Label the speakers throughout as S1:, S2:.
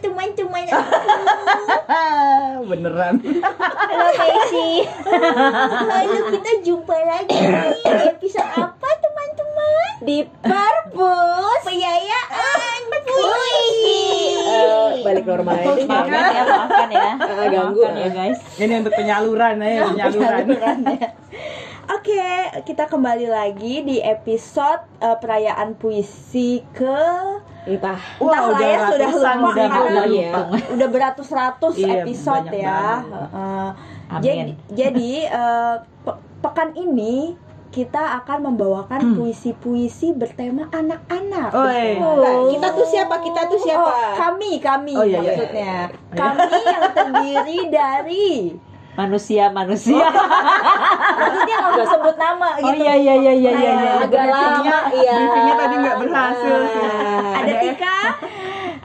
S1: teman-teman
S2: beneran
S1: Halo Messi Lalu kita jumpa lagi di episode apa teman-teman
S3: di perpus
S1: Peyayaan puisi
S3: Eh, balik normal ya
S4: Terus maafkan ya, maafkan ya.
S1: Ah,
S3: Eh, ganggu,
S4: Maafkan ya
S3: eh.
S4: guys.
S2: ini untuk penyaluran ya penyaluran
S3: Oke, kita kembali lagi di episode eh, perayaan puisi ke
S1: Entah
S2: wah
S3: Entahlah
S2: udah
S3: ya, sudah
S2: ratusan
S3: lupa
S2: udah
S3: karena-
S1: ya.
S2: udah
S3: iya.
S2: lupa
S3: udah beratus-ratus
S2: Iya,
S3: episode
S2: banyak
S3: ya.
S2: banget.
S3: Heeh.
S4: Amin.
S3: jadi jadi eh, pe- pekan ini kita akan
S1: Hmm.
S3: membawakan puisi-puisi bertema anak-anak.
S2: Oi.
S1: Nah, kita tuh siapa? Kita tuh siapa?
S3: Oh, kami, kami
S2: Oh, iya, iya.
S3: maksudnya.
S2: Iya.
S1: Oh,
S3: Kami yang terdiri dari Oh.
S4: Manusia manusia.
S3: maksudnya nggak usah sebut nama
S4: Oh
S3: gitu.
S4: iya iya iya iya iya. iya.
S3: Nah,
S1: agak lama ya
S2: briefingnya tadi nggak berhasil sih.
S1: Nah,
S3: Ada Tika,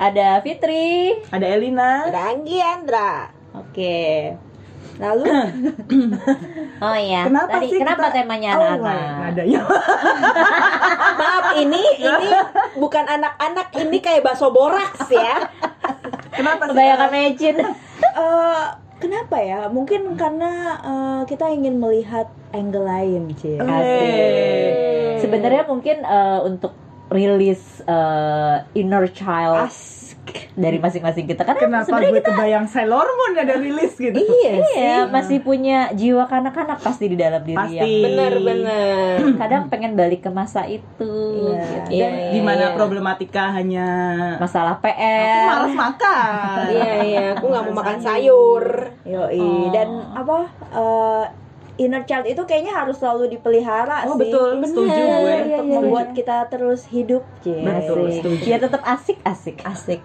S4: Ada Fitri.
S2: ada Elina
S1: Ada Anggi Andra
S4: Oke.
S3: lalu
S4: Oh iya.
S2: Kenapa
S4: Tadi,
S2: sih kita-
S4: kenapa
S1: Iya,
S4: temanya
S2: Oh,
S4: anak-anak?
S2: wah, ada ya
S1: Maaf ini ini bukan anak-anak ini kayak baso boraks ya
S2: kenapa sih
S4: Kebanyakan mecin.
S3: eh, kenapa ya? Mungkin karena eh, kita ingin melihat angle lain, Ci.
S2: Weh.
S4: Sebenarnya mungkin eh, untuk rilis eh, inner child
S3: Ask.
S4: dari masing-masing kita kan karena
S2: kenapa
S4: sebenarnya
S2: gue kebayang Sailor Moon ada rilis gitu
S3: Iya sih.
S4: Iya, masih punya jiwa kanak-kanak pasti di dalam diri
S2: pasti
S4: yang
S1: Bener-bener
S4: kadang pengen balik ke masa itu.
S3: Iya.
S4: gitu.
S1: Iya,
S2: Dan
S1: iya,
S2: di mana
S1: iya.
S2: problematika hanya
S4: Masalah
S2: aku
S4: PR.
S2: malas makan
S1: Iya iya, aku nggak mau makan sayur.
S3: Yoi.
S4: Oh.
S3: Dan apa? eh, inner child itu kayaknya harus selalu dipelihara
S2: oh
S3: sih.
S2: betul setuju
S4: Bener,
S2: gue
S4: iya,
S3: Untuk
S4: iya,
S3: membuat kita terus hidup, Ci.
S2: Betul,
S4: Asik.
S2: setuju.
S4: Ya tetap asik-asik. Asik.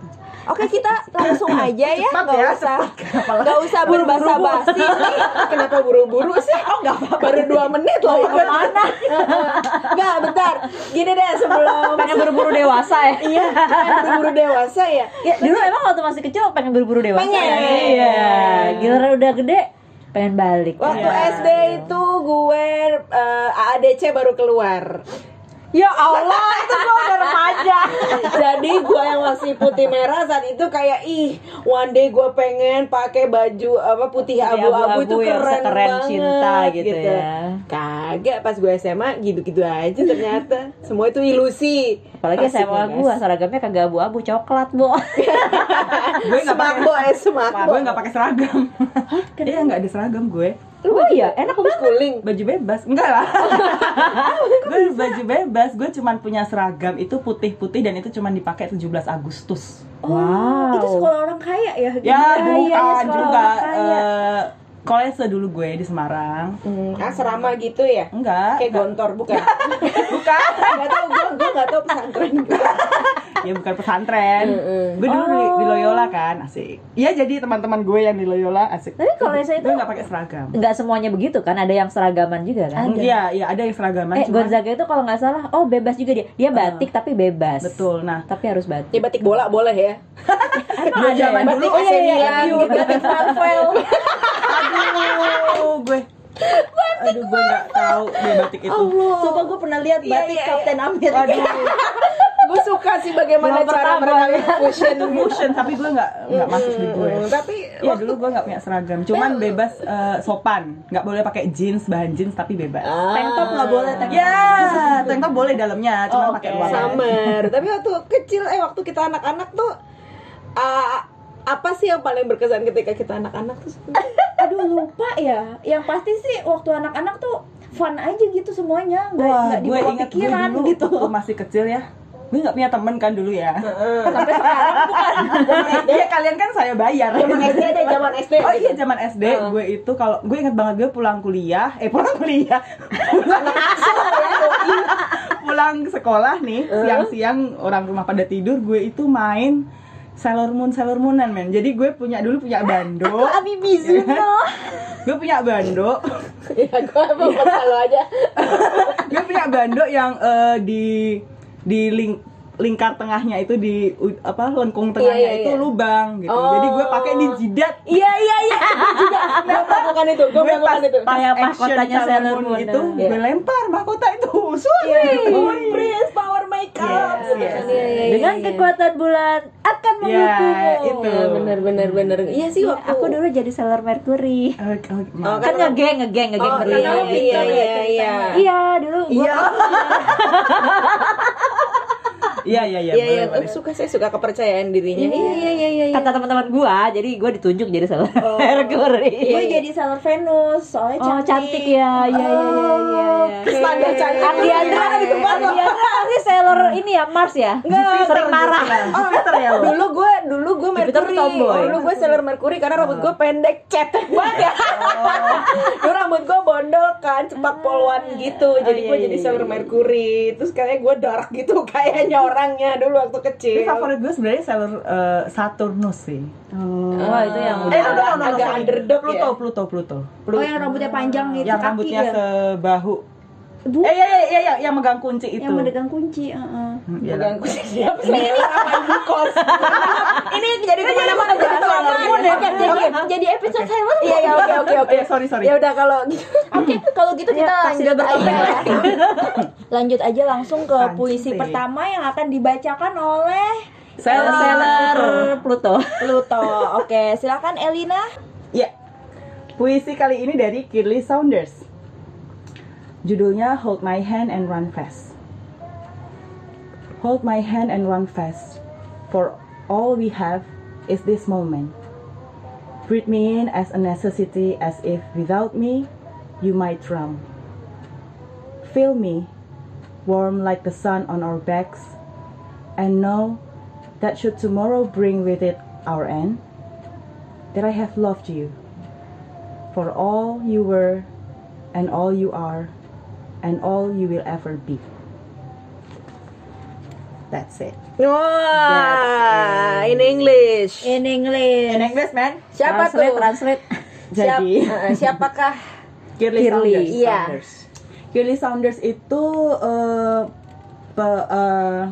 S3: Oke, kita langsung aja ya,
S2: Cepat
S3: nggak
S2: ya,
S3: usah.
S2: Apalah.
S3: Gak usah berbasa-basi nih.
S1: Kenapa buru-buru sih? Oh nggak apa-apa, baru dua menit loh.
S4: Mana?
S3: Gak, Iya, bentar. Gini deh sebelum
S4: Pengen buru-buru dewasa ya? Iya.
S1: Buru-buru dewasa ya.
S4: Ya, dulu emang waktu masih kecil pengen buru-buru dewasa.
S1: Pengen.
S4: ya? Iya. Giliran udah gede pengen balik.
S1: Waktu
S4: Iya.
S1: SD itu gue eh, AADC baru keluar.
S4: Ya Allah, itu gua udah remaja.
S1: Jadi gue yang masih putih merah saat itu kayak ih, one day gue pengen pakai baju apa putih abu-abu itu
S4: yang
S1: keren
S4: sekeren
S1: banget
S4: cinta gitu, ya.
S1: Kagak pas gue SMA gitu-gitu aja ternyata. Semua itu ilusi.
S4: Apalagi
S1: Asik
S4: sama
S1: banget.
S4: gua seragamnya kagak abu-abu coklat, Bu.
S2: gue nggak pakai
S1: Semakbo eh semakbo.
S2: gue nggak pakai seragam iya nggak ada seragam gue
S4: Oh iya, enak banget.
S1: Kuling.
S2: baju bebas enggak lah gue baju bebas gue cuman punya seragam itu putih putih dan itu cuman dipakai 17 Agustus
S3: Oh,
S4: Wow.
S3: itu sekolah orang kaya ya?
S2: ya
S3: Gimana?
S4: iya,
S2: bukan
S4: sekolah iya.
S2: juga
S4: orang kaya.
S2: eh, kolese dulu gue di Semarang
S1: Hmm, asrama gitu ya?
S2: enggak
S1: Kayak
S2: enggak.
S1: gontor bukan?
S2: bukan
S1: gak tau gue, gue gak tau pesantren gue
S2: ya bukan pesantren
S4: Mm,
S1: Mm-mm.
S2: gue dulu di,
S4: Oh.
S2: di Loyola kan asik iya jadi teman-teman gue yang di Loyola asik
S4: Tapi kalau saya itu
S2: gue nggak pakai seragam
S4: nggak semuanya begitu kan, ada yang seragaman juga kan.
S2: iya iya ada yang seragaman
S4: Eh,
S2: cuman-
S4: Gonzaga itu kalau nggak salah, oh bebas juga dia. Dia batik tapi bebas.
S2: betul nah
S4: Tapi harus batik.
S1: Ya batik bola boleh ya?
S2: dulu zaman dulu
S1: Batik AC Milan
S2: iya,
S1: gitu Batik Marvel
S2: Aduh, gue Aduh, gue gak tahu dia batik itu
S3: Sumpah gue pernah lihat
S1: Iya,
S3: batik
S1: iya, iya.
S3: Captain America.
S1: Gue suka sih bagaimana
S2: Yang
S1: cara
S2: pertama
S1: mereka
S2: ya.
S1: fusion
S2: Itu motion, tapi gue gak, nggak masuk di gue
S1: Hmm, Tapi
S2: Ya dulu gue gak punya seragam, cuman bebas eh, sopan Gak boleh pakai jeans, bahan jeans tapi bebas
S1: Ah.
S3: Tank top nggak boleh, tank
S2: Ya, tank top boleh dalamnya, cuman
S3: Oh,
S2: pakai
S3: oke.
S2: luar
S1: Summer Tapi waktu kecil, eh waktu kita anak-anak tuh ah, Apa sih yang paling berkesan ketika kita anak-anak tuh?
S3: aduh lupa ya yang pasti sih waktu anak-anak tuh fun aja gitu semuanya nggak
S2: Wah,
S3: nggak
S2: gue
S3: dibawa
S2: inget gue
S3: pikiran
S2: dulu
S3: gitu
S2: waktu masih kecil ya Gue gak punya temen kan dulu ya
S3: sampai sekarang
S2: Iya, kalian kan saya bayar
S3: Iya,
S1: Zaman SD ada zaman SD
S2: Oh iya zaman SD gue itu kalau gue inget banget gue pulang kuliah, eh pulang kuliah, pulang, pulang sekolah nih siang-siang orang rumah pada tidur gue itu main Sailor Moon Sailor Moonan men. Jadi gue punya dulu punya bando,
S4: Ami Mizuno.
S2: gue punya bando,
S1: Ya gue emang lo aja
S2: gue punya bando yang eh, di di ling- lingkar tengahnya itu di u- apa lengkung tengahnya
S1: iya, iya.
S2: itu lubang gitu. Jadi gue pakai di jidat
S1: Iya iya iya juga Gue melakukan itu Gue
S2: gue pas
S1: melakukan itu
S2: pas
S4: Kayak
S2: action
S4: mahkotanya
S2: Sailor
S4: Sailor
S2: Moon
S4: Moon,
S2: itu
S4: nah.
S2: gue lempar mahkota itu usul
S1: Wih, Prince Power Man wake up
S2: Yes,
S1: gitu
S2: yes.
S1: kan. Iya, iya,
S4: Dengan
S1: iya, iya.
S4: kekuatan bulan akan
S2: Ya,
S4: mendukungmu.
S2: itu.
S1: Iya, bener bener bener iya sih
S3: Iya,
S1: waktu
S3: aku dulu jadi Sailor Mercury.
S2: Oke, oke,
S1: Oh,
S2: maaf.
S4: Kan ngegeng, ngegeng, ngegeng.
S1: Oh, iya,
S4: ngegeng.
S1: iya,
S4: ya
S1: iya, iya.
S3: Iya, dulu gua
S2: Iya. Iya, iya,
S1: Iya,
S2: iya.
S1: iya,
S2: boleh, boleh.
S1: aku suka saya suka kepercayaan dirinya. Iya, iya, iya, iya. iya.
S4: Kata teman-teman gua, jadi gua ditunjuk jadi salah
S3: Oh.
S4: Mercury.
S2: Iya,
S3: gue jadi Sailor Venus soalnya
S4: Oh,
S3: cantik.
S4: cantik ya. Iya, iya, iya, iya, iya.
S1: Standar cantik
S4: Ardiandra
S1: Iya.
S4: di Ardiandra ini Sailor ini ya Mars ya?
S1: Enggak,
S4: sering marah.
S2: Oh, Peter ya lo.
S1: Dulu gue dulu gue
S4: Jupiter
S1: Mercury.
S4: tomboy.
S1: Dulu gue Sailor Mercury karena rambut gue pendek cetek banget ya.
S2: Oh.
S1: Dulu rambut gue bondol kan, cepak poluan gitu. Jadi
S2: iya,
S1: gue
S2: iya,
S1: jadi
S2: iya,
S1: Sailor Mercury. Terus kayaknya gue dark gitu kayaknya orangnya dulu waktu
S2: Tapi
S1: kecil.
S2: favorit gue sebenarnya Sailor eh, Saturnus sih.
S4: Oh, itu yang
S1: Eh,
S4: udah.
S1: lu
S2: no, no, no,
S1: agak
S2: sorry.
S1: underdog ya?
S2: Pluto, Pluto, Pluto.
S3: Oh, yang rambutnya panjang gitu,
S2: yang
S3: kaki
S2: rambutnya
S3: dia.
S2: sebahu.
S3: Bu,
S2: Eh, iya, iya, iya, iya, yang megang kunci itu.
S3: yang menegang kunci, heeh.
S2: Hmm, iya lah.
S1: Mengganggu siap Sailor sama Nikos. Ini jadi kemana-mana jadi Sailor
S3: Sailor
S1: Moon ya.
S3: Moon. Jadi, jadi episode Sailor Moon.
S1: Iya, iya, oke, oke,
S2: Oh,
S1: oke.
S2: iya, sorry, sorry.
S1: Ya udah kalau
S3: Oke, kalau gitu kita
S1: Iya,
S4: Ya, sudah
S3: lanjut aja. ya. lanjut aja langsung ke
S2: Lanjut
S3: puisi
S2: deh.
S3: pertama yang akan dibacakan oleh
S4: Sailor Sailor Pluto.
S3: Pluto. Oke, silakan Elina.
S2: Ya. Puisi kali ini dari Kirly Saunders. Judulnya Hold My Hand and Run Fast. Hold my hand and run fast, for all we have is this moment. Breathe me in as a necessity, as if without me, you might drown. Feel me, warm like the sun on our backs, and know that should tomorrow bring with it our end, that I have loved you for all you were and all you are and all you will ever be. That's it.
S1: Wah, in English.
S3: In English.
S2: English, man.
S1: Siapa
S4: translate,
S1: tuh?
S4: Translate.
S1: Siap-
S2: Jadi,
S1: eh, siapakah
S2: Kirly
S4: Kirli,
S2: Saunders.
S1: iya.
S2: Saunders. Kirli Saunders itu eh, pe- eh,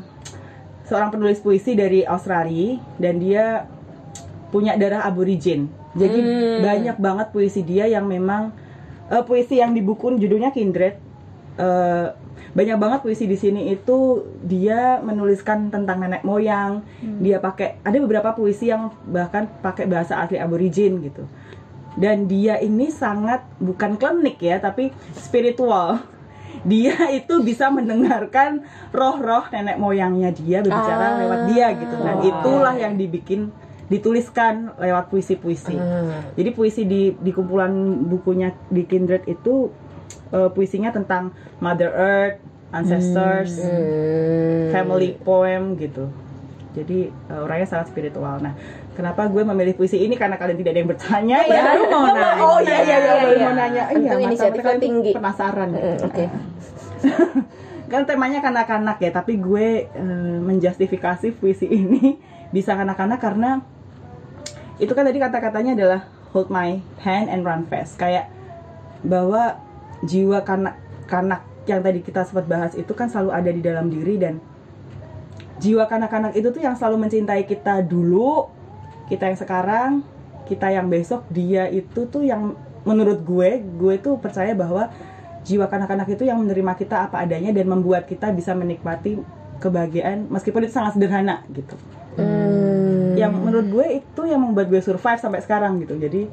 S2: seorang penulis puisi dari Australia dan dia punya darah aborigin. Jadi
S1: Hmm.
S2: banyak banget puisi dia yang memang eh, puisi yang di buku judulnya Kindred. eh, banyak banget puisi di sini itu dia menuliskan tentang nenek moyang. Dia pakai ada beberapa puisi yang bahkan pakai bahasa asli aborigin gitu. Dan dia ini sangat bukan klinik ya, tapi spiritual. Dia itu bisa mendengarkan roh-roh nenek moyangnya dia berbicara
S1: Ah.
S2: lewat dia gitu. Dan
S1: Wow.
S2: itulah yang dibikin dituliskan lewat puisi-puisi. Jadi puisi di di kumpulan bukunya di Kindred itu eh, puisinya tentang Mother Earth, ancestors,
S1: Hmm.
S2: family poem gitu. Jadi eh, orangnya sangat spiritual. Nah, kenapa gue memilih puisi ini karena kalian tidak ada yang bertanya
S1: Iya,
S2: ya?
S1: baru mau
S2: Oh,
S1: nanya.
S2: Oh iya iya iya,
S1: Iya,
S2: baru
S1: iya.
S2: mau nanya.
S1: Tentu
S2: Iya,
S1: inisiatifnya
S2: mata-mata kalian tuh
S1: tinggi.
S2: Penasaran. gitu.
S1: Mm, oke.
S2: kan temanya kanak-kanak ya, tapi gue eh, menjustifikasi puisi ini bisa kanak-kanak karena itu kan tadi kata-katanya adalah hold my hand and run fast. Kayak bahwa jiwa kanak-kanak yang tadi kita sempat bahas itu kan selalu ada di dalam diri dan jiwa kanak-kanak itu tuh yang selalu mencintai kita dulu, kita yang sekarang, kita yang besok, dia itu tuh yang menurut gue, gue tuh percaya bahwa jiwa kanak-kanak itu yang menerima kita apa adanya dan membuat kita bisa menikmati kebahagiaan meskipun itu sangat sederhana gitu.
S4: Hmm.
S2: Yang menurut gue itu yang membuat gue survive sampai sekarang gitu. Jadi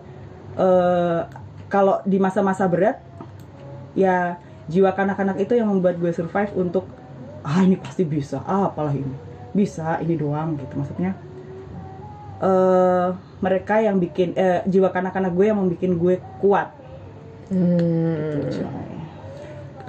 S2: eh, kalau di masa-masa berat ya jiwa kanak-kanak itu yang membuat gue survive untuk ah ini pasti bisa ah apalah ini bisa ini doang gitu maksudnya eh mereka yang bikin eh, jiwa kanak-kanak gue yang membuat gue kuat
S1: Hmm.
S2: gitu, coy.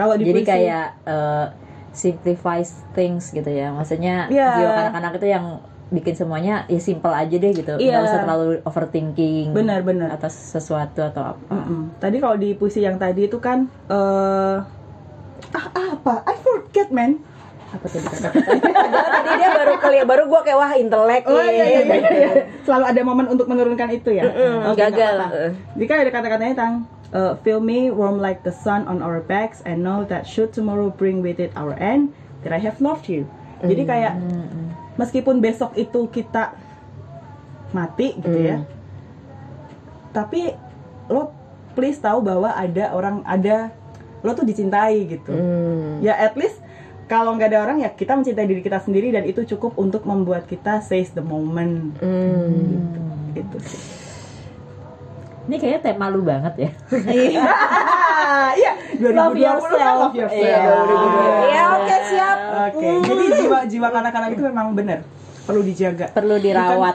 S2: kalau di
S4: Hmm. Jadi
S2: puisi-
S4: kayak eh, simplifies things gitu ya. Maksudnya
S2: Iya.
S4: jiwa kanak-kanak itu yang bikin semuanya ya simple aja deh gitu. nggak
S2: Iya.
S4: usah terlalu overthinking
S2: benar-benar
S4: atas sesuatu atau apa.
S2: Mm-mm. Tadi kalau di puisi yang tadi itu kan eh ah, apa? I forget man. Apa tadi kata-kata?
S1: Tadi dia baru kali baru gue kayak wah intelek
S2: Oh
S1: nih.
S2: iya, iya, iya, iya. Selalu ada momen untuk menurunkan itu ya.
S1: Mm,
S2: Oke,
S1: gagal.
S2: nggak apa-apa. Jadi kan ada kata-katanya tentang uh, feel me warm like the sun on our backs and know that should tomorrow bring with it our end that I have loved you. Jadi kayak
S3: Mm.
S2: meskipun besok itu kita mati gitu ya.
S4: Hmm.
S2: Tapi lo please
S4: Hmm.
S1: Hmm,
S2: tahu bahwa ada orang ada lo tuh dicintai gitu. Ya at least kalau nggak ada orang ya kita mencintai diri kita sendiri dan itu cukup untuk membuat kita seize the moment
S1: Hmm.
S2: gitu sih.
S4: Ini kayaknya tema lu banget ya.
S2: Ah, iya 2020
S4: Love
S2: kan
S4: yourself.
S2: love yourself.
S4: Iya. Hmm.
S1: Ya, oke, siap.
S2: Oke, jadi jiwa jiwa kanak-kanak itu memang benar perlu dijaga.
S4: Perlu dirawat.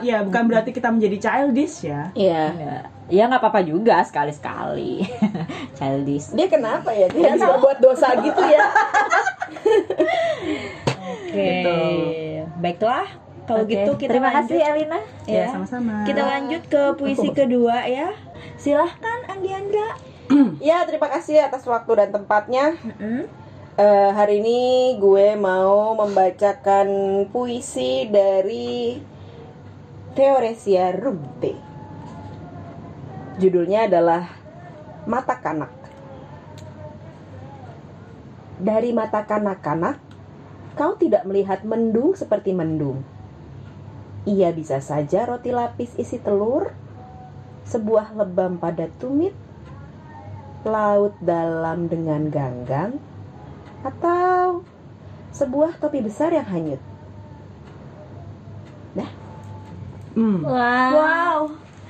S2: Bukan, ya, bukan berarti kita menjadi childish ya.
S1: Iya.
S4: Ya, Ya nggak apa-apa juga sekali-sekali. Childish.
S1: Dia kenapa ya? Dia suka buat dosa gitu ya.
S3: Oke.
S4: Gitu.
S3: Baiklah, kalau
S4: Oke,
S3: gitu kita
S4: Terima
S3: lanjut
S4: kasih Elina.
S2: Ya,
S3: ya.
S2: sama-sama.
S3: Kita lanjut ke puisi kedua ya. Silahkan Andi Andra.
S1: ya, terima kasih atas waktu dan tempatnya. Eh, hari ini gue mau membacakan puisi dari Theoresia Rubte. Judulnya adalah Mata Kanak. Dari mata kanak-kanak, kau tidak melihat mendung seperti mendung. Ia bisa saja roti lapis isi telur, sebuah lebam pada tumit, laut dalam dengan ganggang, atau sebuah topi besar yang hanyut.
S2: Hmm.
S3: Ah.
S4: Wah.
S3: Wow,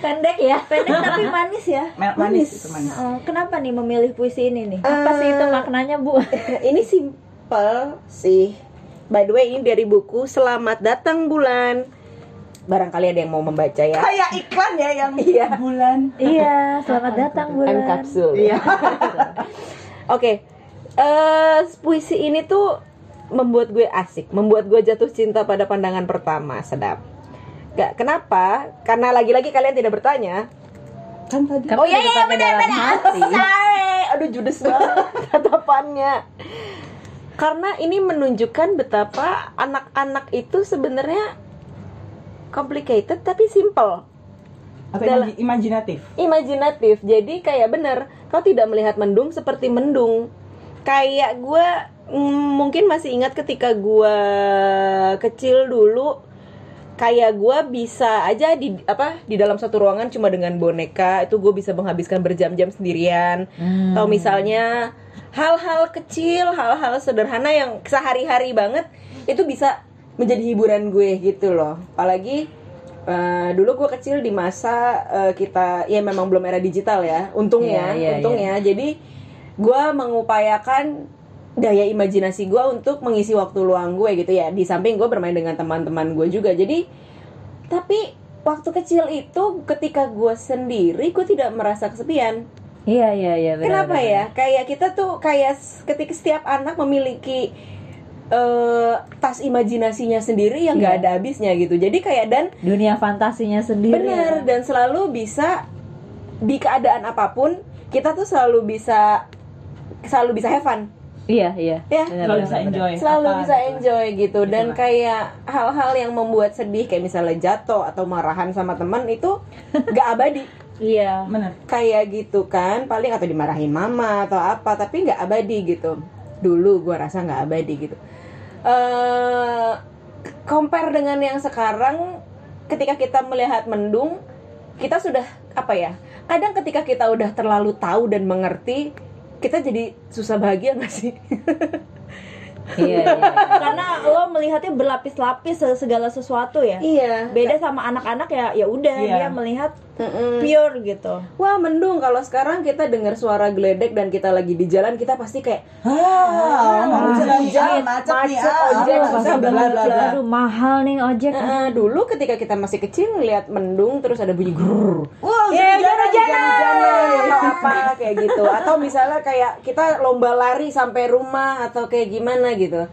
S4: Pendek ya.
S3: pendek tapi manis ya.
S2: Ma- Manis, itu manis.
S3: Oh, kenapa nih memilih puisi ini nih? Eh,
S4: Apa sih itu maknanya Bu?
S1: Nah, Ini simple sih. By the way, ini dari buku Selamat Datang Bulan. Barangkali ada yang mau membaca ya.
S2: Kayak iklan ya yang
S1: Iya.
S2: bulan.
S4: iya, selamat datang
S1: M
S4: bulan.
S1: kapsul.
S2: Iya.
S1: Oke. Eh, puisi ini tuh membuat gue asik, membuat gue jatuh cinta pada pandangan pertama. Sedap. Gak, kenapa? Karena lagi-lagi kalian tidak bertanya.
S2: Kan tadi
S4: Kamu
S1: Oh, iya, iya,
S4: tetap di dalam hati.
S1: Sorry, Eh, aduh judes banget tatapannya. Karena ini menunjukkan betapa anak-anak itu sebenarnya complicated tapi simple,
S2: apa
S1: dalam-
S2: imaj- imajinatif.
S1: imajinatif. Jadi kayak bener, kau tidak melihat mendung seperti mendung. Kayak gue mungkin masih ingat ketika gue kecil dulu kayak gue bisa aja di apa di dalam satu ruangan cuma dengan boneka itu gue bisa menghabiskan berjam-jam sendirian
S4: Hmm.
S1: atau misalnya hal-hal kecil, hal-hal sederhana yang sehari-hari banget itu bisa menjadi hiburan gue gitu loh. Apalagi eh, dulu gue kecil di masa eh, kita ya memang belum era digital ya, untungnya,
S4: Iya, iya,
S1: untungnya. Jadi gue mengupayakan daya imajinasi gue untuk mengisi waktu luang gue gitu ya. Di samping gue bermain dengan teman-teman gue juga. Jadi tapi waktu kecil itu ketika gue sendiri gue tidak merasa kesepian.
S4: Iya, iya, iya. benar,
S1: Kenapa
S4: benar.
S1: ya? Kayak kita tuh kayak s- ketika setiap anak memiliki eh, tas imajinasinya sendiri yang nggak
S4: Iya.
S1: ada habisnya gitu. Jadi kayak dan
S4: Dunia fantasinya sendiri.
S1: benar dan selalu bisa di keadaan apapun kita tuh selalu bisa selalu bisa have fun
S4: Iya, iya.
S1: ya.
S4: Benar,
S2: Selalu
S4: benar,
S2: bisa
S4: benar.
S2: enjoy.
S1: Selalu
S2: apa
S1: bisa
S2: gitu.
S1: enjoy gitu dan
S2: Betul.
S1: kayak hal-hal yang membuat sedih kayak misalnya jatuh atau marahan sama teman itu nggak abadi.
S4: Iya.
S2: Bener.
S1: kayak gitu kan paling atau dimarahin mama atau apa tapi nggak abadi gitu dulu gua rasa nggak abadi gitu eh compare dengan yang sekarang ketika kita melihat mendung kita sudah apa ya kadang ketika kita udah terlalu tahu dan mengerti kita jadi susah bahagia nggak sih
S4: Iya, iya. iya.
S3: Karena lo melihatnya berlapis-lapis segala sesuatu ya.
S1: iya
S3: Beda sama anak-anak ya ya udah
S2: Iya.
S3: dia melihat pure gitu.
S1: wah mendung kalau sekarang kita dengar suara geledek dan kita lagi di jalan kita pasti kayak
S2: Ah, mau jalan-jalan macet nih.
S1: macet,
S2: ah,
S1: ojek,
S2: ah,
S1: susah
S2: bla,
S1: banget,
S2: bla, bla.
S4: Aduh, mahal nih ojek.
S1: Eh, dulu ketika kita masih kecil ngelihat mendung terus ada bunyi grrrr
S2: Wow,
S1: Ya,
S2: hujan-hujanan, hujan-hujanan.
S1: atau apa kayak gitu atau misalnya kayak kita lomba lari sampai rumah atau kayak gimana gitu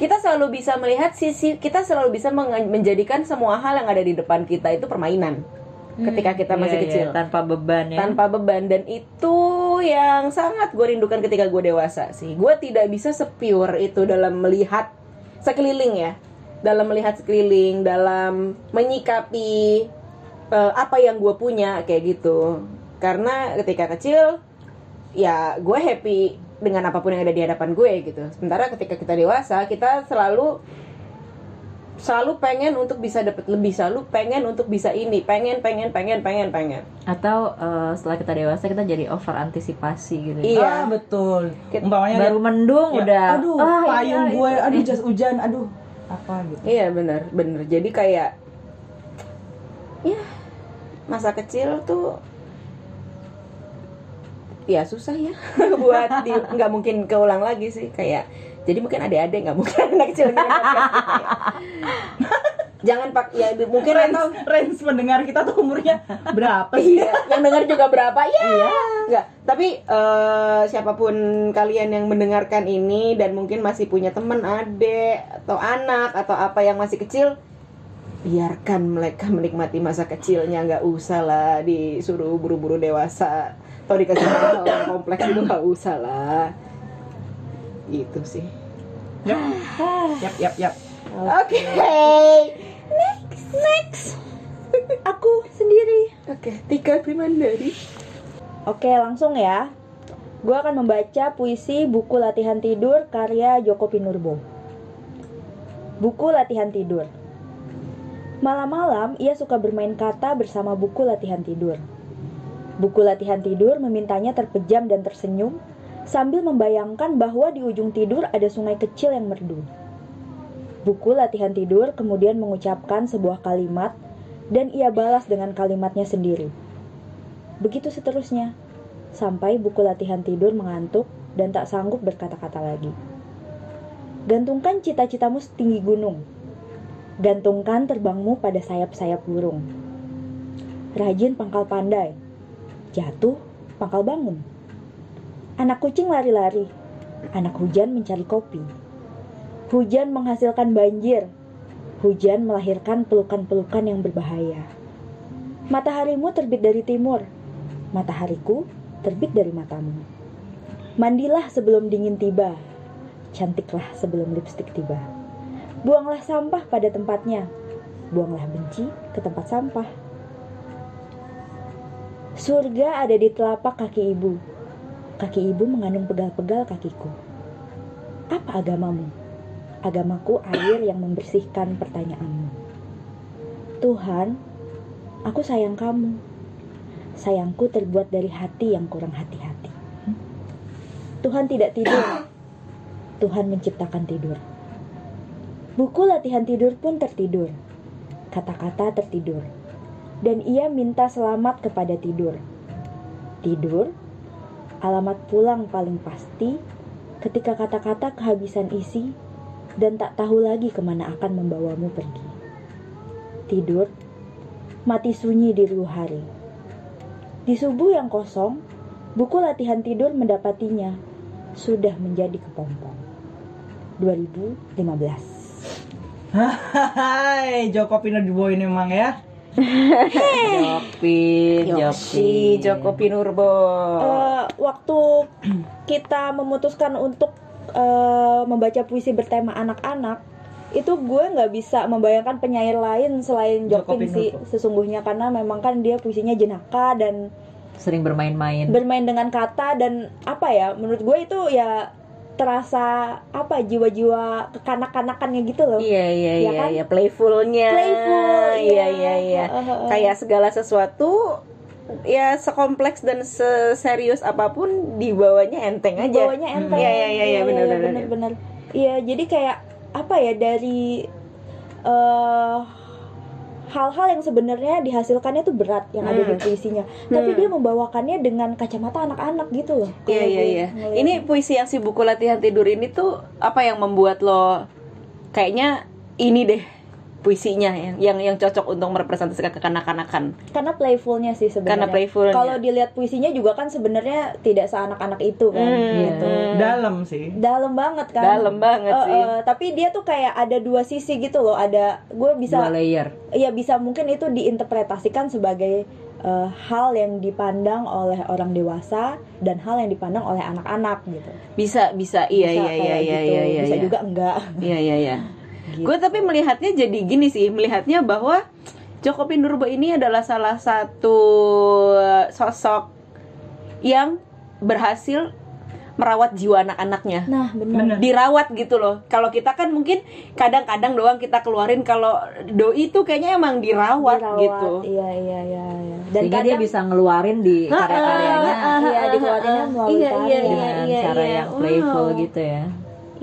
S1: kita selalu bisa melihat sisi kita selalu bisa meng- menjadikan semua hal yang ada di depan kita itu permainan ketika kita masih
S4: Iya, iya,
S1: kecil
S4: tanpa beban ya.
S1: tanpa beban dan itu yang sangat gue rindukan ketika gue dewasa sih gue tidak bisa sepure itu dalam melihat sekeliling ya dalam melihat sekeliling dalam menyikapi eh, apa yang gue punya kayak gitu karena ketika kecil ya gue happy dengan apapun yang ada di hadapan gue gitu sementara ketika kita dewasa kita selalu selalu pengen untuk bisa dapat lebih selalu pengen untuk bisa ini pengen pengen pengen pengen pengen
S4: atau eh, setelah kita dewasa kita jadi over antisipasi gitu
S1: iya
S2: Ah, betul.
S1: Kita-
S2: Umpamanya
S4: baru mendung
S2: Ya.
S4: udah
S2: aduh
S4: "Ah, iya,
S2: payung
S4: itu
S2: gue aduh
S4: deh."
S2: jas hujan aduh apa gitu
S1: iya benar benar jadi kayak ya masa kecil tuh ya susah ya buat di nggak mungkin keulang lagi sih kayak jadi mungkin adik-adik nggak mungkin anak kecil dengerin podcast kita ya. jangan pak ya mungkin
S2: range,
S1: atau
S2: range pendengar kita tuh umurnya berapa sih
S1: Iya, yang dengar juga berapa? Ya. Enggak, tapi eh, siapapun kalian yang mendengarkan ini dan mungkin masih punya teman adik atau anak atau apa yang masih kecil, biarkan mereka menikmati masa kecilnya, nggak usah lah disuruh buru-buru dewasa atau dikasih tahu yang kompleks itu nggak usah lah. Itu sih.
S2: yap yap yap yap
S1: Oke.
S3: Next, aku sendiri.
S1: Oke, tiga primandiri.
S3: Oke, langsung ya. Gue akan membaca puisi buku latihan tidur karya Joko Pinurbo. Buku latihan tidur. Malam-malam ia suka bermain kata bersama buku latihan tidur. Buku latihan tidur memintanya terpejam dan tersenyum sambil membayangkan bahwa di ujung tidur ada sungai kecil yang merdu. Buku latihan tidur kemudian mengucapkan sebuah kalimat dan ia balas dengan kalimatnya sendiri. Begitu seterusnya, sampai buku latihan tidur mengantuk dan tak sanggup berkata-kata lagi. Gantungkan cita-citamu setinggi gunung. Gantungkan terbangmu pada sayap-sayap burung. Rajin pangkal pandai. Jatuh, pangkal bangun. Anak kucing lari-lari. Anak hujan mencari kopi. Hujan menghasilkan banjir. Hujan melahirkan pelukan-pelukan yang berbahaya. Mataharimu terbit dari timur, matahariku terbit dari matamu. Mandilah sebelum dingin tiba, cantiklah sebelum lipstik tiba. Buanglah sampah pada tempatnya, buanglah benci ke tempat sampah. Surga ada di telapak kaki ibu. Kaki ibu mengandung pegal-pegal kakiku. Apa agamamu? Agamaku air yang membersihkan pertanyaanmu. Tuhan, Aku sayang kamu. Sayangku terbuat dari hati yang kurang hati-hati. Tuhan tidak tidur. Tuhan menciptakan tidur. Buku latihan tidur pun tertidur. Kata-kata tertidur. Dan ia minta selamat kepada tidur. Tidur, alamat pulang paling pasti ketika kata-kata kehabisan isi dan tak tahu lagi kemana akan membawamu pergi. Tidur, mati sunyi di riuh hari. Di subuh yang kosong, buku latihan tidur mendapatinya sudah menjadi kepompong. 2015.
S2: hai Joko Pinurbo ini emang ya
S4: Jopin,
S1: Yoshi,
S4: Jopin.
S1: Joko Pinurbo.
S3: Eh, waktu kita memutuskan untuk eh, membaca puisi bertema anak-anak, itu gue nggak bisa membayangkan penyair lain selain
S2: Joko
S3: Jopin sih
S2: Pinurbo.
S3: sesungguhnya karena memang kan dia puisinya jenaka dan
S4: Sering bermain-main.
S3: bermain dengan kata dan apa ya menurut gue itu ya terasa apa jiwa-jiwa kekanak-kanakannya gitu loh
S1: Iya iya
S3: Ya
S1: iya
S3: kan?
S1: iya playfulnya.
S3: playful
S1: Iya iya iya.
S3: Heeh.
S1: Kayak segala sesuatu ya sekompleks dan seserius apun dibawanya enteng aja.
S3: bawahnya enteng
S1: Iya, iya, iya, iya, benar, benar,
S3: benar benar iya jadi kayak apa ya dari eh, hal-hal yang sebenarnya dihasilkannya tuh berat yang ada di
S1: Hmm.
S3: puisinya tapi
S1: Hmm.
S3: dia membawakannya dengan kacamata anak-anak gitu loh
S1: Iya iya iya. Ini puisi yang si buku latihan tidur ini tuh apa yang membuat lo kayaknya ini deh puisinya yang yang, yang cocok untuk merepresentasikan kekanak-kanakan
S3: karena playfulnya sih
S1: karena
S3: sebenarnya
S1: playful.
S3: ya. kalau dilihat puisinya juga kan sebenarnya tidak seanak-anak itu kan
S1: Hmm.
S3: gitu
S2: Iya.
S1: Hmm.
S2: dalam sih
S3: dalam banget kan
S1: dalam banget
S3: Eh,
S1: sih.
S3: eh, tapi dia tuh kayak ada dua sisi gitu loh ada gue
S4: Dua
S3: bisa
S4: layer.
S3: ya bisa mungkin itu diinterpretasikan sebagai eh, hal yang dipandang oleh orang dewasa dan hal yang dipandang oleh anak-anak gitu
S1: Bisa bisa iya iya iya
S3: Bisa kayak
S1: iya
S3: gitu,
S1: iya iya.
S3: bisa
S1: iya.
S3: juga enggak
S1: Iya iya iya.
S3: Gitu.
S1: Gue tapi melihatnya jadi gini sih, melihatnya bahwa Joko Pinurbo ini adalah salah eh, satu sosok yang berhasil merawat jiwa anak-anaknya
S3: Nah, benar.
S2: Benar.
S1: dirawat gitu loh. Kalau kita kan mungkin kadang-kadang doang kita keluarin kalau doi itu kayaknya emang dirawat,
S3: Dirawat,
S1: gitu.
S3: Iya, iya, iya, iya. Dan
S4: sehingga dia
S3: kadang eh,
S4: bisa ngeluarin di
S1: Ah,
S4: karya-karyanya
S1: ah,
S3: Iya,
S1: ah,
S3: dikeluarinnya
S1: ah,
S3: melalui
S1: iya, iya,
S3: karya.
S1: iya,
S4: dengan
S1: iya,
S4: cara
S1: iya.
S4: yang playful
S1: Wow.
S4: gitu ya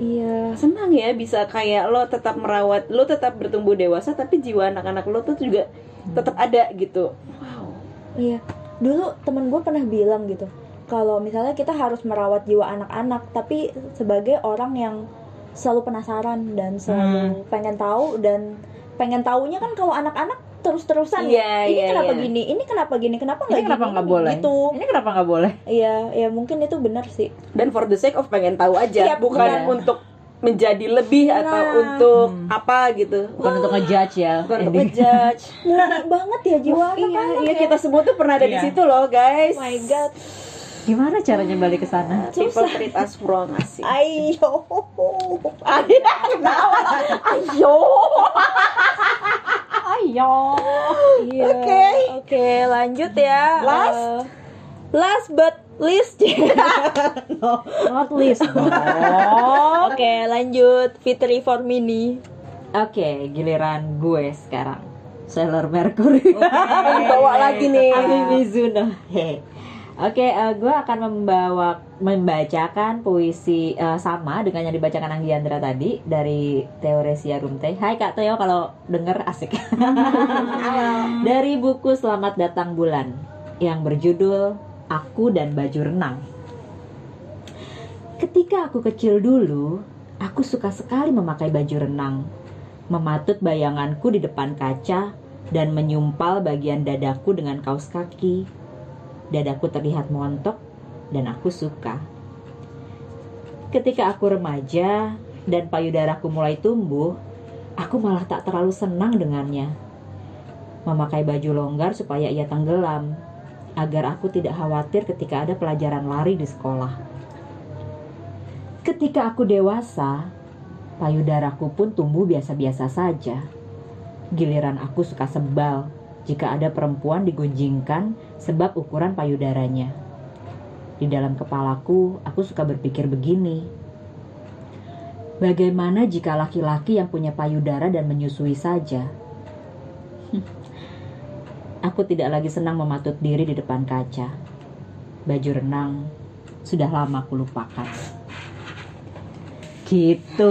S3: iya.
S1: Senang ya bisa kayak lo tetap merawat, lo tetap bertumbuh dewasa tapi jiwa anak-anak lo tuh juga tetap ada gitu. Wow.
S3: Iya. Dulu temen gue pernah bilang gitu. Kalau misalnya kita harus merawat jiwa anak-anak, tapi sebagai orang yang selalu penasaran
S1: Hmm.
S3: dan selalu pengen tahu dan pengen taunya kan kalau anak-anak terus-terusan
S1: Iya,
S3: ya. Ini
S1: iya,
S3: kenapa
S1: iya.
S3: gini? Ini kenapa gini? Kenapa
S4: ini
S3: nggak
S4: kenapa
S3: gini?
S4: nggak boleh
S3: Gitu.
S4: ini kenapa nggak boleh
S3: Iya, ya mungkin itu benar sih.
S1: Dan for the sake of pengen tahu aja,
S3: Iya,
S1: bukan
S4: iya.
S1: untuk menjadi lebih atau
S3: Nah.
S1: untuk
S4: Hmm.
S1: apa gitu.
S4: bukan untuk ngejudge ya
S1: Bukan untuk
S4: Ini.
S1: ngejudge.
S3: Murni banget ya jiwa
S1: iya,
S3: anak-anak.
S1: iya kita semua tuh pernah ada di
S2: Iya.
S1: situ loh, guys.
S3: Oh my god.
S4: gimana caranya balik ke sana
S1: People
S3: Susah. Ah,
S1: treat us wrong asik.
S3: Ayo.
S1: Ketawa. Ayo.
S4: ayo
S3: Iya.
S1: Oke.
S3: Oke, lanjut ya.
S1: Last.
S3: Eh, last but least.
S4: not least
S3: Oke, lanjut Fitri Formini.
S4: Oke, giliran gue sekarang. Sailor Mercury.
S3: iya,
S1: Bawa lagi nih.
S3: Ah,
S4: Ami Mizuno. He. Oke, eh, gue akan membawa membacakan puisi eh, sama dengan yang dibacakan Anggiandra tadi dari Teoresia Rumte. Hai Kak Teo kalau denger asik. dari buku Selamat Datang Bulan yang berjudul Aku dan Baju Renang. Ketika aku kecil dulu, aku suka sekali memakai baju renang. Mematut bayanganku di depan kaca dan menyumpal bagian dadaku dengan kaos kaki. Dadaku terlihat montok dan aku suka. Ketika aku remaja dan payudaraku mulai tumbuh, aku malah tak terlalu senang dengannya. Memakai baju longgar supaya ia tenggelam, agar aku tidak khawatir ketika ada pelajaran lari di sekolah. Ketika aku dewasa, payudaraku pun tumbuh biasa-biasa saja. Giliran aku suka sebal jika ada perempuan digunjingkan sebab ukuran payudaranya. Di dalam kepalaku, aku suka berpikir begini. Bagaimana jika laki-laki yang punya payudara dan menyusui saja? aku tidak lagi senang mematut diri di depan kaca. Baju renang sudah lama aku lupakan. Gitu,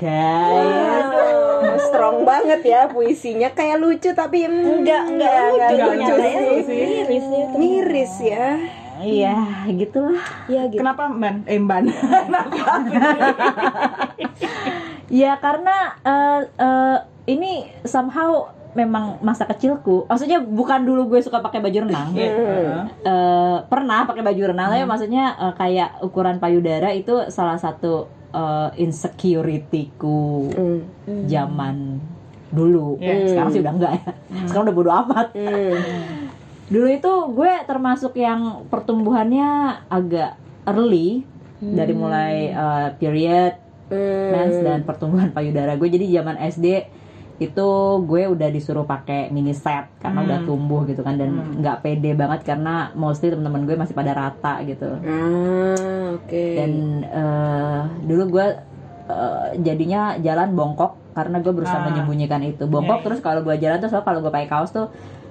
S4: guys.
S1: Waduh, strong banget ya puisinya. Kayak lucu tapi mm,
S3: Enggak, enggak lucu
S1: enggak
S2: ternyata
S1: lucu
S2: ya,
S1: sih.
S2: sih.
S3: Miris ya. ternyata.
S1: Miris ya.
S4: Iya, gitulah.
S3: Ya gitu.
S2: Kenapa Mban? Eh Mban.
S4: Ya karena eh, eh, ini somehow memang masa kecilku. Maksudnya bukan dulu gue suka pakai baju renang.
S2: Iya.
S1: Hmm.
S4: Eh, pernah pakai baju renang, tapi maksudnya eh, kayak ukuran payudara itu salah satu eh, insecurity-ku
S1: Hmm.
S3: Hmm.
S4: zaman dulu.
S2: Iya.
S4: Sekarang sih udah enggak ya. Sekarang udah bodo amat.
S1: Hmm.
S4: Dulu itu gue termasuk yang pertumbuhannya agak early
S3: Hmm.
S4: dari mulai eh, period
S1: Hmm.
S4: mens dan pertumbuhan payudara gue jadi zaman SD itu gue udah disuruh pakai mini set karena
S2: Hmm.
S4: udah tumbuh gitu kan dan
S2: Hmm.
S4: nggak pede banget karena mostly teman-teman gue masih pada rata gitu
S1: Ah, oke.
S4: dan eh, dulu gue eh, jadinya jalan bongkok karena gue berusaha
S2: Ah.
S4: menyembunyikan itu bongkok
S2: Iya, iya.
S4: terus kalau gue jalan terus kalau gue pakai kaos tuh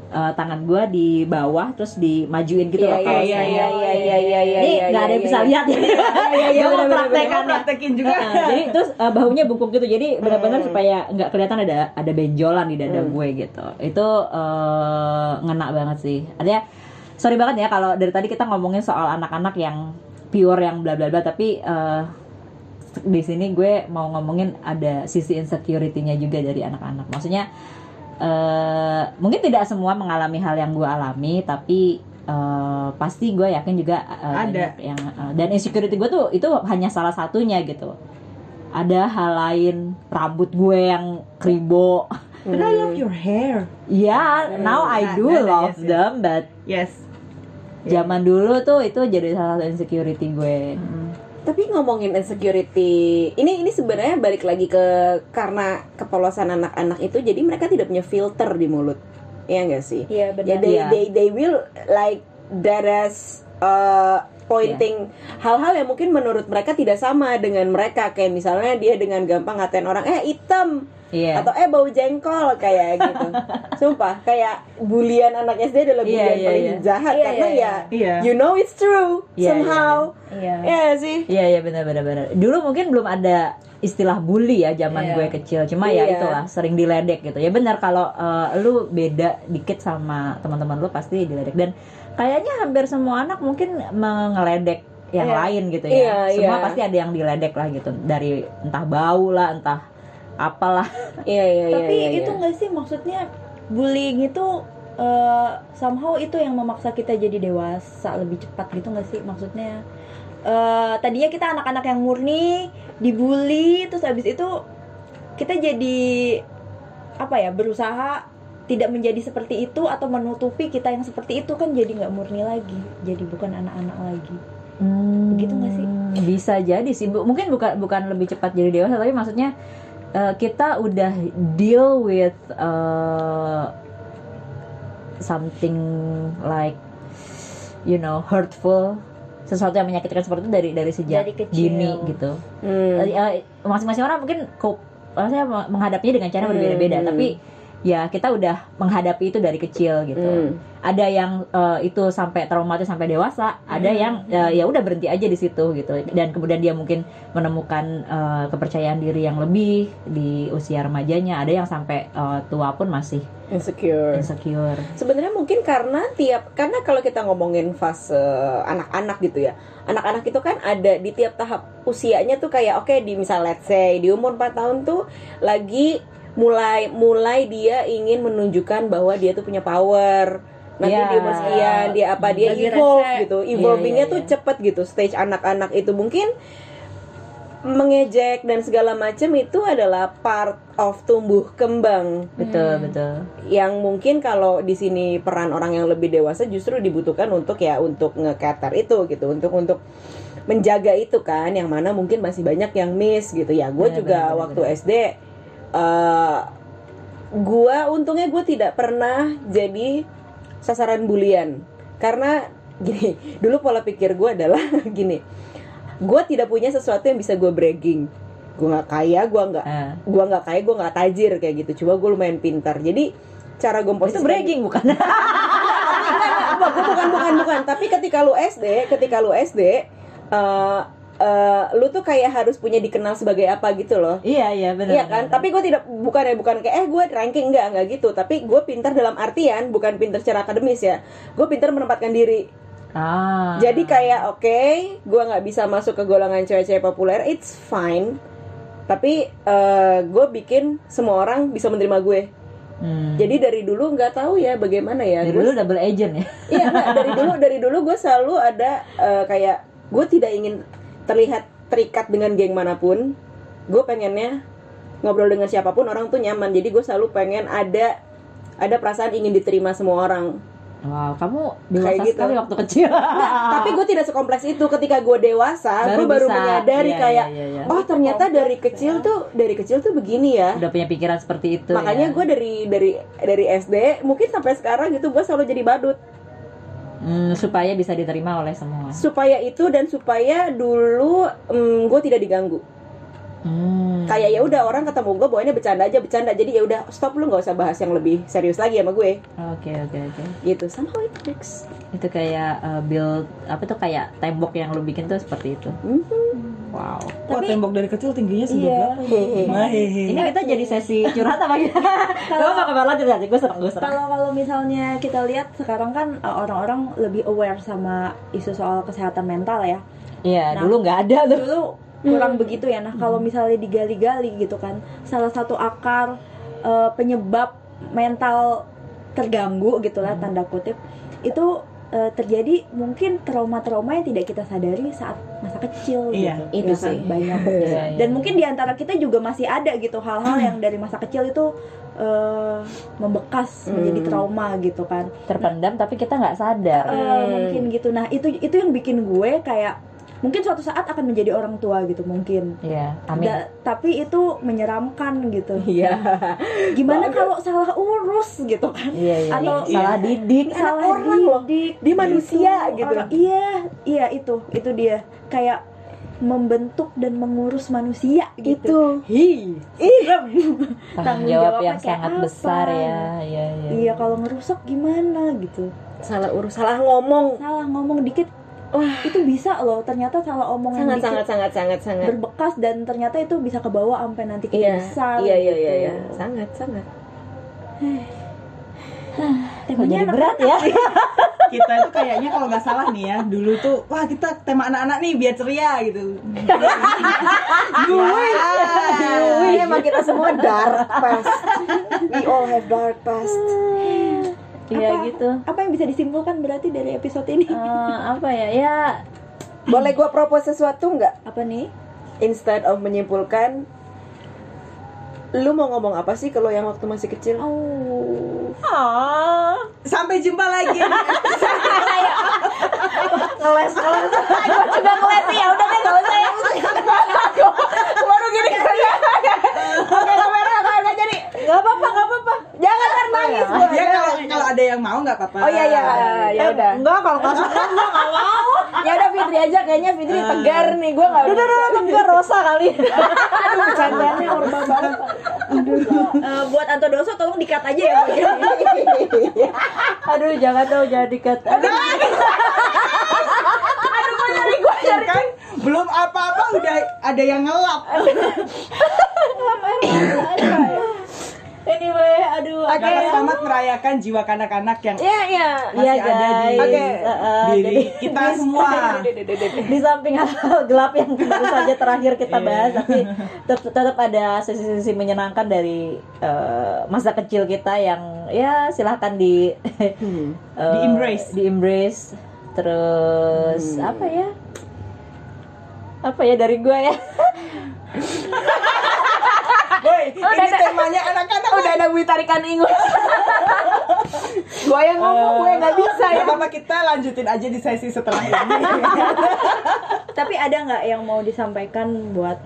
S4: eh, tangan gue di bawah terus dimajuin gitu
S1: Iya,
S4: loh
S1: iya,
S4: kaosnya.
S1: iya, iya, iya, iya, iya, iya,
S4: Ini
S1: iya,
S4: nggak ada
S1: iya,
S4: yang bisa
S1: iya.
S4: lihat ya. Gue mau
S2: Mereka
S4: praktekannya.
S2: praktekin juga.
S4: Heeh, jadi terus uh, bahunya bungkuk gitu jadi
S1: Hmm.
S4: benar-benar supaya nggak kelihatan ada ada benjolan di dada
S1: Hmm.
S4: gue gitu itu uh, ngena banget sih ada sorry banget ya kalau dari tadi kita ngomongin soal anak-anak yang pure yang bla bla bla tapi uh, di sini gue mau ngomongin ada sisi insecurity-nya juga dari anak-anak maksudnya eh mungkin tidak semua mengalami hal yang gue alami tapi eh, pasti gue yakin juga eh,
S2: Ada.
S4: banyak yang eh, dan insecurity gue tuh itu hanya salah satunya gitu ada hal lain rambut gue yang kribo
S1: Hmm.
S2: But
S1: Nah,
S2: I love your hair.
S4: ya now I do
S2: Nah, nah,
S4: love
S2: yes, yes.
S4: them but
S2: Yes.
S4: zaman dulu tuh itu jadi salah satu insecurity gue
S2: Mm-hmm.
S1: Tapi ngomongin insecurity, ini ini sebenarnya balik lagi ke karena kepolosan anak-anak itu, jadi mereka tidak punya filter di mulut, ya enggak sih?
S3: Iya
S1: Ya
S3: benar.
S1: they,
S4: Iya.
S1: they they will like that as uh, pointing hal-hal yang mungkin menurut mereka tidak sama dengan mereka kayak misalnya dia dengan gampang ngatain orang eh hitam
S4: Iya.
S1: atau eh bau jengkol kayak gitu sumpah kayak bulian anak SD adalah
S4: Iya,
S1: bulian
S4: iya,
S1: paling
S4: iya.
S1: jahat
S3: Iya,
S1: karena
S3: iya,
S2: Iya.
S1: ya you know it's true
S4: Iya, iya,
S1: somehow
S3: Iya.
S1: ya sih
S4: Iya iya benar benar benar. Dulu mungkin belum ada istilah bully ya zaman
S3: Iya.
S4: gue kecil. Cuma ya
S1: Iya.
S4: itulah sering diledek gitu. Ya benar kalau eh, lu beda dikit sama teman-teman lu pasti diledek dan kayaknya hampir semua anak mungkin mengeledek yang
S3: Iya.
S4: lain gitu ya.
S1: Iya,
S4: semua
S1: iya.
S4: pasti ada yang diledek lah gitu. Dari entah bau lah, entah apalah.
S1: iya iya iya
S3: Tapi
S1: iya, iya.
S3: itu nggak sih maksudnya bullying itu eh, somehow itu yang memaksa kita jadi dewasa lebih cepat gitu nggak sih maksudnya? eh tadinya kita anak-anak yang murni dibully terus habis itu kita jadi apa ya berusaha tidak menjadi seperti itu atau menutupi kita yang seperti itu kan jadi nggak murni lagi jadi bukan anak-anak lagi Gitu nggak sih?
S4: Hmm, Bisa jadi sih. Bu- Mungkin bukan bukan lebih cepat jadi dewasa, tapi maksudnya eh, kita udah deal with eh, something like you know hurtful sesuatu yang menyakitkan seperti itu dari dari
S1: Ya,
S4: sejak
S3: Dari kecil.
S4: dini gitu.
S1: Hmm.
S4: Eh, eh, masing-masing orang mungkin cope, maksudnya menghadapinya dengan cara
S1: Hmm.
S4: berbeda-beda, tapi ya kita udah menghadapi itu dari kecil gitu
S1: Hmm.
S4: ada yang eh, itu sampai traumatis sampai dewasa, ada
S1: Hmm.
S4: yang eh, ya udah berhenti aja di situ gitu. Dan kemudian dia mungkin menemukan eh, kepercayaan diri yang lebih di usia remajanya, ada yang sampai eh, tua pun masih mm.
S1: insecure
S4: insecure.
S1: sebenarnya mungkin karena tiap karena kalau kita ngomongin fase anak-anak gitu ya anak-anak itu kan ada di tiap tahap usianya tuh kayak oke di misal let's say di umur 4 tahun tuh lagi mulai mulai dia ingin menunjukkan bahwa dia tuh punya power nanti
S4: Ya.
S1: di umur sekian dia apa dia
S3: Lagi
S1: evolve
S3: rese.
S1: gitu evolvingnya
S3: iya,
S1: tuh
S3: iya.
S1: cepet gitu stage anak-anak itu mungkin mengejek dan segala macam itu adalah part of tumbuh kembang
S4: Betul,
S3: Hmm.
S4: betul.
S1: yang mungkin kalau di sini peran orang yang lebih dewasa justru dibutuhkan untuk ya untuk nge-cater itu gitu untuk untuk menjaga itu kan yang mana mungkin masih banyak yang miss gitu ya gue
S4: Benar,
S1: juga
S4: Iya, benar, benar,
S1: waktu SD eh gue untungnya gue tidak pernah jadi sasaran bulian karena gini dulu pola pikir gue adalah gini gue tidak punya sesuatu yang bisa gue bragging gue nggak kaya gue nggak
S4: Ah.
S1: gua nggak kaya gua nggak tajir kayak gitu coba gue lumayan pintar jadi cara gue
S4: itu bragging bukan?
S1: bukan bukan bukan bukan. tapi ketika lu SD ketika lu SD eh eh, lu tuh kayak harus punya dikenal sebagai apa gitu loh
S4: iya, iya benar.
S1: Iya kan, tapi gue tidak bukan ya bukan kayak eh gue ranking enggak enggak gitu, tapi gue pintar dalam artian bukan pintar secara akademis ya, gue pintar menempatkan diri.
S4: Ah.
S1: Jadi kayak oke, gue nggak bisa masuk ke golongan cewek-cewek populer, it's fine. Tapi gue bikin semua orang bisa menerima gue.
S4: Hmm.
S1: Jadi dari dulu nggak tahu ya bagaimana ya.
S4: Dari
S1: Gua-
S4: dulu double agent ya.
S1: Iya nggak, dari dulu dari dulu gue selalu ada eh, kayak gue tidak ingin terlihat terikat dengan geng manapun. Gue pengennya ngobrol dengan siapapun orang tuh nyaman. Jadi gue selalu pengen ada ada perasaan ingin diterima semua orang.
S4: Wow, kamu dewasa
S1: Kayak gitu.
S4: sekali waktu kecil.
S1: Nggak, tapi gue tidak sekompleks itu. Ketika gue dewasa, gue baru
S4: bisa.
S1: menyadari
S4: Iya,
S1: kayak
S4: iya, iya, iya.
S1: oh ternyata dari kecil tuh dari kecil tuh begini ya.
S4: udah punya pikiran seperti itu.
S1: Makanya
S4: ya.
S1: gue dari dari dari SD mungkin sampai sekarang gitu gue selalu jadi badut.
S4: Hmm, supaya bisa diterima oleh semua.
S1: supaya itu dan supaya dulu gue tidak diganggu
S4: Hmm.
S1: kayak ya udah orang ketemu gue bawaannya bercanda aja bercanda jadi ya udah stop lu nggak usah bahas yang lebih serius lagi sama gue
S4: Oke oke oke.
S1: gitu somehow it works
S4: Itu kayak uh, build apa tuh kayak tembok yang lu bikin tuh seperti itu.
S1: Mhm.
S4: Wow.
S2: Wah,
S3: Tapi-
S2: tembok dari kecil tingginya sebelah
S3: Iya.
S2: berapa? ini? Wah, hehe.
S4: Ini kita jadi sesi curhat apa gitu? Gue mau kembali lanjut aja, gue serang gue serang.
S3: Kalau kalau misalnya kita lihat sekarang kan eh, orang-orang lebih aware sama isu soal kesehatan mental ya.
S4: Iya,
S3: Nah.
S4: dulu nggak ada tuh.
S3: dulu kurang begitu ya nah kalau misalnya digali-gali gitu kan salah satu akar eh, penyebab mental terganggu gitulah
S4: Hmm.
S3: tanda kutip itu eh, terjadi mungkin trauma-trauma yang tidak kita sadari saat masa kecil
S2: Iya,
S1: itu
S3: gitu Ya kan?
S1: sih.
S3: banyak
S4: Iya, iya.
S3: dan mungkin diantara kita juga masih ada gitu hal-hal yang dari masa kecil itu eh, membekas menjadi
S1: Hmm.
S3: trauma gitu kan
S4: terpendam tapi kita nggak sadar.
S3: Eh,
S1: Hmm.
S3: mungkin gitu nah itu itu yang bikin gue kayak mungkin suatu saat akan menjadi orang tua gitu mungkin
S4: Iya, amin.
S3: Da- tapi itu menyeramkan gitu.
S1: iya
S3: Gimana kalau salah urut? terus gitu kan
S4: Iya, iya.
S3: Atau
S4: iya. salah didik.
S3: Ini
S1: Salah
S3: anak orang
S1: didik.
S3: loh
S1: Dia manusia gitu.
S3: Orang- iya iya itu itu dia kayak membentuk dan mengurus manusia gitu
S1: Gitu.
S2: Hi.
S4: Tanggung
S3: Tanggung
S4: jawab
S3: jawabnya
S4: yang
S3: kayak
S4: sangat
S3: apa?
S4: besar ya. Iya, iya.
S3: iya kalau ngerusak gimana gitu
S1: Salah urus, salah ngomong.
S3: salah ngomong dikit wah itu bisa loh ternyata salah omongan
S1: Sangat
S3: dikit
S1: sangat sangat sangat sangat.
S3: berbekas dan ternyata itu bisa kebawa sampai nanti kita
S1: Iya.
S3: besar
S1: Iya iya
S3: gitu.
S1: iya iya. Sangat sangat.
S4: Kok
S3: Temanya
S4: jadi
S3: anak-
S4: berat ya?
S2: Kita itu kayaknya kalau nggak salah nih ya, dulu tuh wah kita tema anak-anak nih biar ceria gitu. Gue.
S1: Ini emang kita semua dark past. We all have dark past.
S4: Iya
S3: Apa-
S4: gitu.
S3: apa yang bisa disimpulkan berarti dari episode ini
S4: Eh, apa ya? Ya
S1: Boleh gue propose sesuatu nggak?
S3: apa nih
S1: Instead of menyimpulkan, lu mau ngomong apa sih kalau yang waktu masih kecil?
S3: oh
S2: Sampai jumpa lagi.
S1: Ngeles ngeles.
S4: Gue juga ngeliat sih ya udah deh gak usah ya
S1: Baru gini aja. Oke kamera nggak ada jadi.
S4: Gak apa-apa gak apa-apa
S1: Jangan kan nangis gue.
S2: ya kalau kalau ada yang mau nggak apa-apa.
S1: Oh iya iya
S2: Ah,
S1: ya udah.
S4: Enggak kalau gak suka enggak gak mau
S1: Ya udah Fitri aja kayaknya Fitri
S2: Ah.
S1: tegar nih gue nggak.
S4: Udah udah udah tegur Rosa kali
S1: Aduh bercandanya orba banget.
S3: Eh, buat Anto Doso tolong dikat aja ya Pak.
S4: Aduh jangan dong jangan dikat Aduh
S2: Tuh kan belum apa-apa udah ada yang ngelap.
S4: Anyway aduh
S2: Oke, selamat merayakan jiwa kanak-kanak yang
S1: Iya iya.
S4: Iya
S2: masih ada di
S4: guys
S1: Oke.
S4: Eh, eh,
S2: diri kita semua.
S4: di samping hal gelap yang tentu saja terakhir
S2: Iya.
S4: kita bahas tapi tet- tetap ada sisi-sisi menyenangkan dari eh, masa kecil kita yang ya silahkan di
S2: Hmm.
S4: eh,
S2: Di embrace. Hmm.
S4: di embrace terus apa ya apa ya dari gue ya
S2: Woi, ini temanya anak-anak
S1: Udah ada gue tarikan ingus. gue yang ngomong
S2: Eh.
S1: gue nggak bisa ya.
S2: Gak apa-apa kita lanjutin aja di sesi setelah ini.
S3: tapi ada nggak yang mau disampaikan buat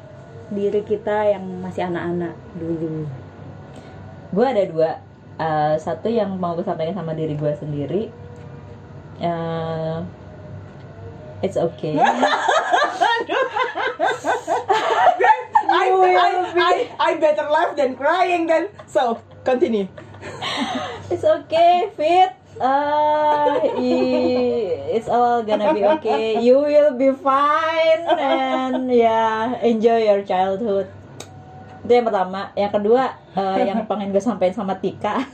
S3: diri kita yang masih anak-anak dulu
S4: gue ada dua Eh, satu yang mau gue sampaikan sama diri gue sendiri Eh, it's okay
S2: I, I, I, I better laugh than crying then. So, continue.
S4: It's okay, Fit. Uh, i- it's all gonna be okay. You will be fine and yeah, enjoy your childhood. Itu yang pertama. Yang kedua, eh, yang pengen gue sampaikan sama Tika.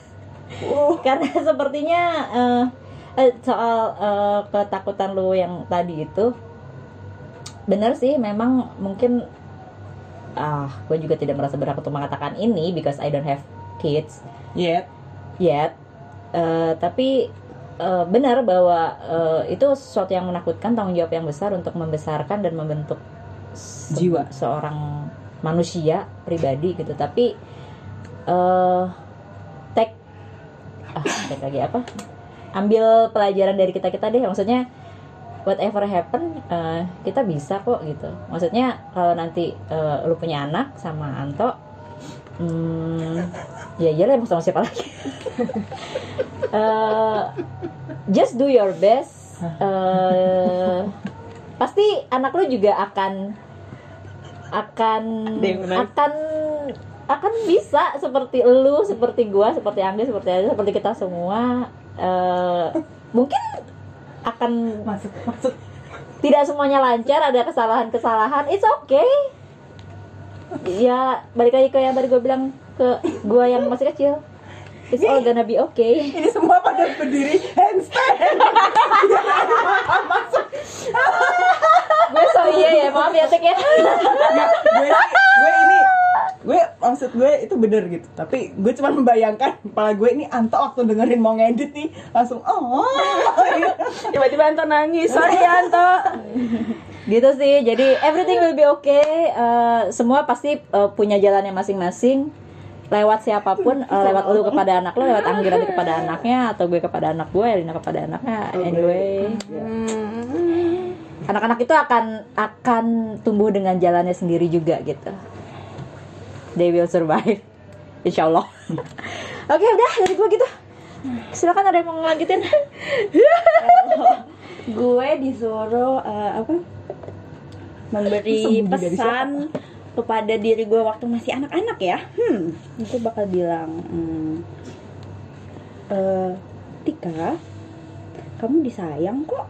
S4: Karena sepertinya eh, eh, soal eh, ketakutan lu yang tadi itu, bener sih. Memang mungkin ah, gue juga tidak merasa berhak untuk mengatakan ini because I don't have kids
S2: Yet.
S4: yet Eh, tapi eh, benar bahwa eh, itu sesuatu yang menakutkan tanggung jawab yang besar untuk membesarkan dan membentuk se-
S2: Jiwa.
S4: seorang manusia pribadi gitu tapi eh take ah, take lagi apa ambil pelajaran dari kita kita deh maksudnya whatever happen eh, kita bisa kok gitu maksudnya kalau nanti eh, lu punya anak sama Anto hmm, ya iyalah emang sama siapa lagi Eh, just do your best Eh, pasti anak lu juga akan akan
S2: Dewasa.
S4: akan akan bisa seperti lu seperti gua seperti Anggi seperti Aza, seperti kita semua Eh, mungkin akan
S2: Masuk, masuk.
S4: tidak semuanya lancar ada kesalahan-kesalahan it's okay ya balik lagi ke yang tadi gue bilang ke gue yang masih kecil it's all gonna be okay
S2: Ini semua pada berdiri handstand. masuk.
S4: gue so iya ya maaf ya tek ya
S2: Nggak, Nah, gue, gue ini gue maksud gue itu bener gitu tapi gue cuma membayangkan kepala gue ini anto waktu dengerin mau ngedit nih langsung oh
S1: Tiba-tiba Anto nangis. Sorry ya Anto.
S4: gitu sih jadi everything will be okay Eh, semua pasti eh, punya jalannya masing-masing lewat siapapun eh, lewat lu kepada anak lu lewat Anggi nanti kepada anaknya atau gue kepada anak gue Elina kepada anaknya anyway
S2: Hmm.
S4: anak-anak itu akan akan tumbuh dengan jalannya sendiri juga gitu. They will survive. Insya Allah.
S3: Oke udah dari gue gitu. Silakan ada yang mau ngelanjutin.
S1: Oh,
S3: gue disuruh eh, apa? Memberi
S2: Sembunyi dari
S3: pesan kepada diri gue waktu masih anak-anak ya. Hmm, itu bakal bilang. hmm, eh, Tika, kamu disayang kok.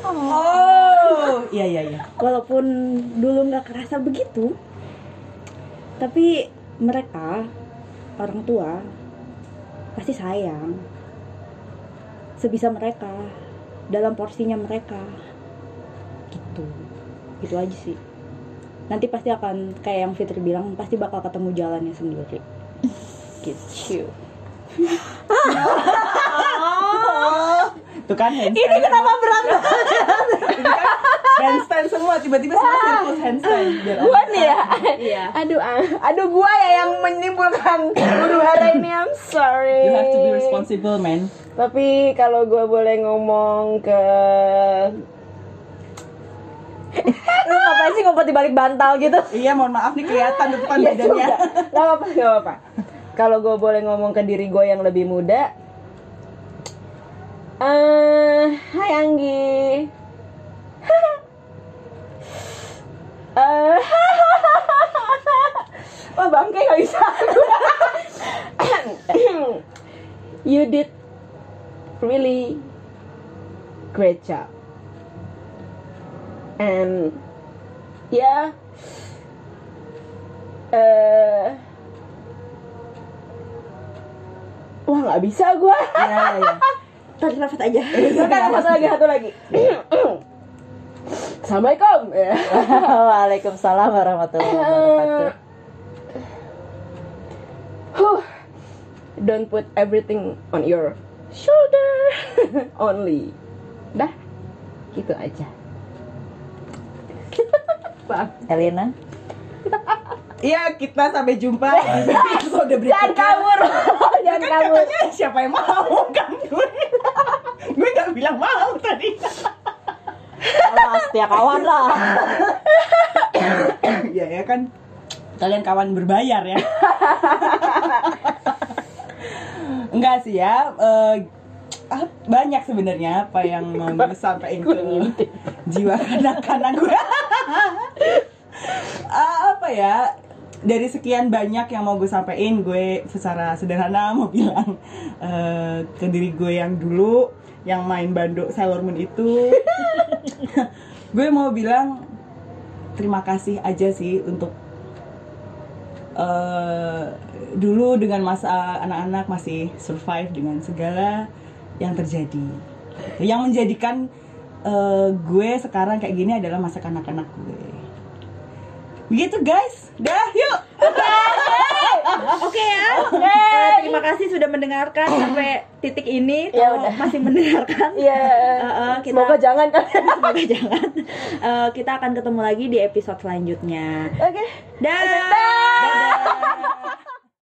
S2: Oh, iya iya iya.
S3: walaupun dulu nggak kerasa begitu tapi mereka orang tua pasti sayang sebisa mereka dalam porsinya mereka gitu gitu aja sih nanti pasti akan kayak yang Fitri bilang pasti bakal ketemu jalannya sendiri gitu
S2: Tuh kan handstand. Ini kenapa berat banget? handstand semua tiba-tiba semua sirkus handstand. Biar
S1: Gua nih ya.
S3: iya
S1: Aduh, ah. aduh gua ya yang menimbulkan huru hara ini. I'm sorry.
S2: You have to be responsible, man.
S1: Tapi kalau gua boleh ngomong ke
S4: Lu ngapain sih ngumpet di balik bantal gitu?
S2: Iya, mohon maaf nih kelihatan depan
S1: Iya
S2: badannya.
S1: juga. Gak apa-apa, gak apa-apa. Kalau gue boleh ngomong ke diri gue yang lebih muda, eh, Hai Anggi. Eh, Wah bangke gak bisa. you did really great job. And yeah, eh wah nggak bisa gue
S2: Iya,
S4: Ya,
S2: iya, iya.
S3: tarik nafas aja
S1: satu lagi satu lagi assalamualaikum Ya.
S4: Waalaikumsalam warahmatullahi wabarakatuh.
S1: Huh. don't put everything on your shoulder only dah gitu aja
S4: Elena.
S2: Iya, kita sampai jumpa di episode
S1: jangan
S2: berikutnya.
S1: kabur jangan
S2: Kan
S1: kabur
S2: katanya siapa yang mau kan gue. gue gak bilang mau tadi.
S4: Alah, setia ya kawan lah.
S2: Iya ya kan. Kalian kawan berbayar ya. Enggak sih ya. eh, ah, banyak sebenarnya apa yang mau gue sampaikan ke jiwa kanak-kanak gue. Ah, apa ya? Dari sekian banyak yang mau gue sampein, gue secara sederhana mau bilang eh, ke diri gue yang dulu yang main bandok Sailor Moon itu. gue mau bilang terima kasih aja sih untuk eh, dulu dengan masa anak-anak masih survive dengan segala yang terjadi. Yang menjadikan eh, gue sekarang kayak gini adalah masa kanak-kanak gue. Begitu guys, dah yuk.
S3: Oke ya.
S1: Iya.
S3: Eh, terima kasih sudah mendengarkan sampai titik ini.
S1: Ya
S3: Kalau
S1: udah.
S3: masih mendengarkan.
S1: Iya.
S3: eh, kita-
S1: semoga jangan kan
S3: Semoga jangan. Eh, kita akan ketemu lagi di episode selanjutnya.
S1: oke
S3: Dah. Dadah.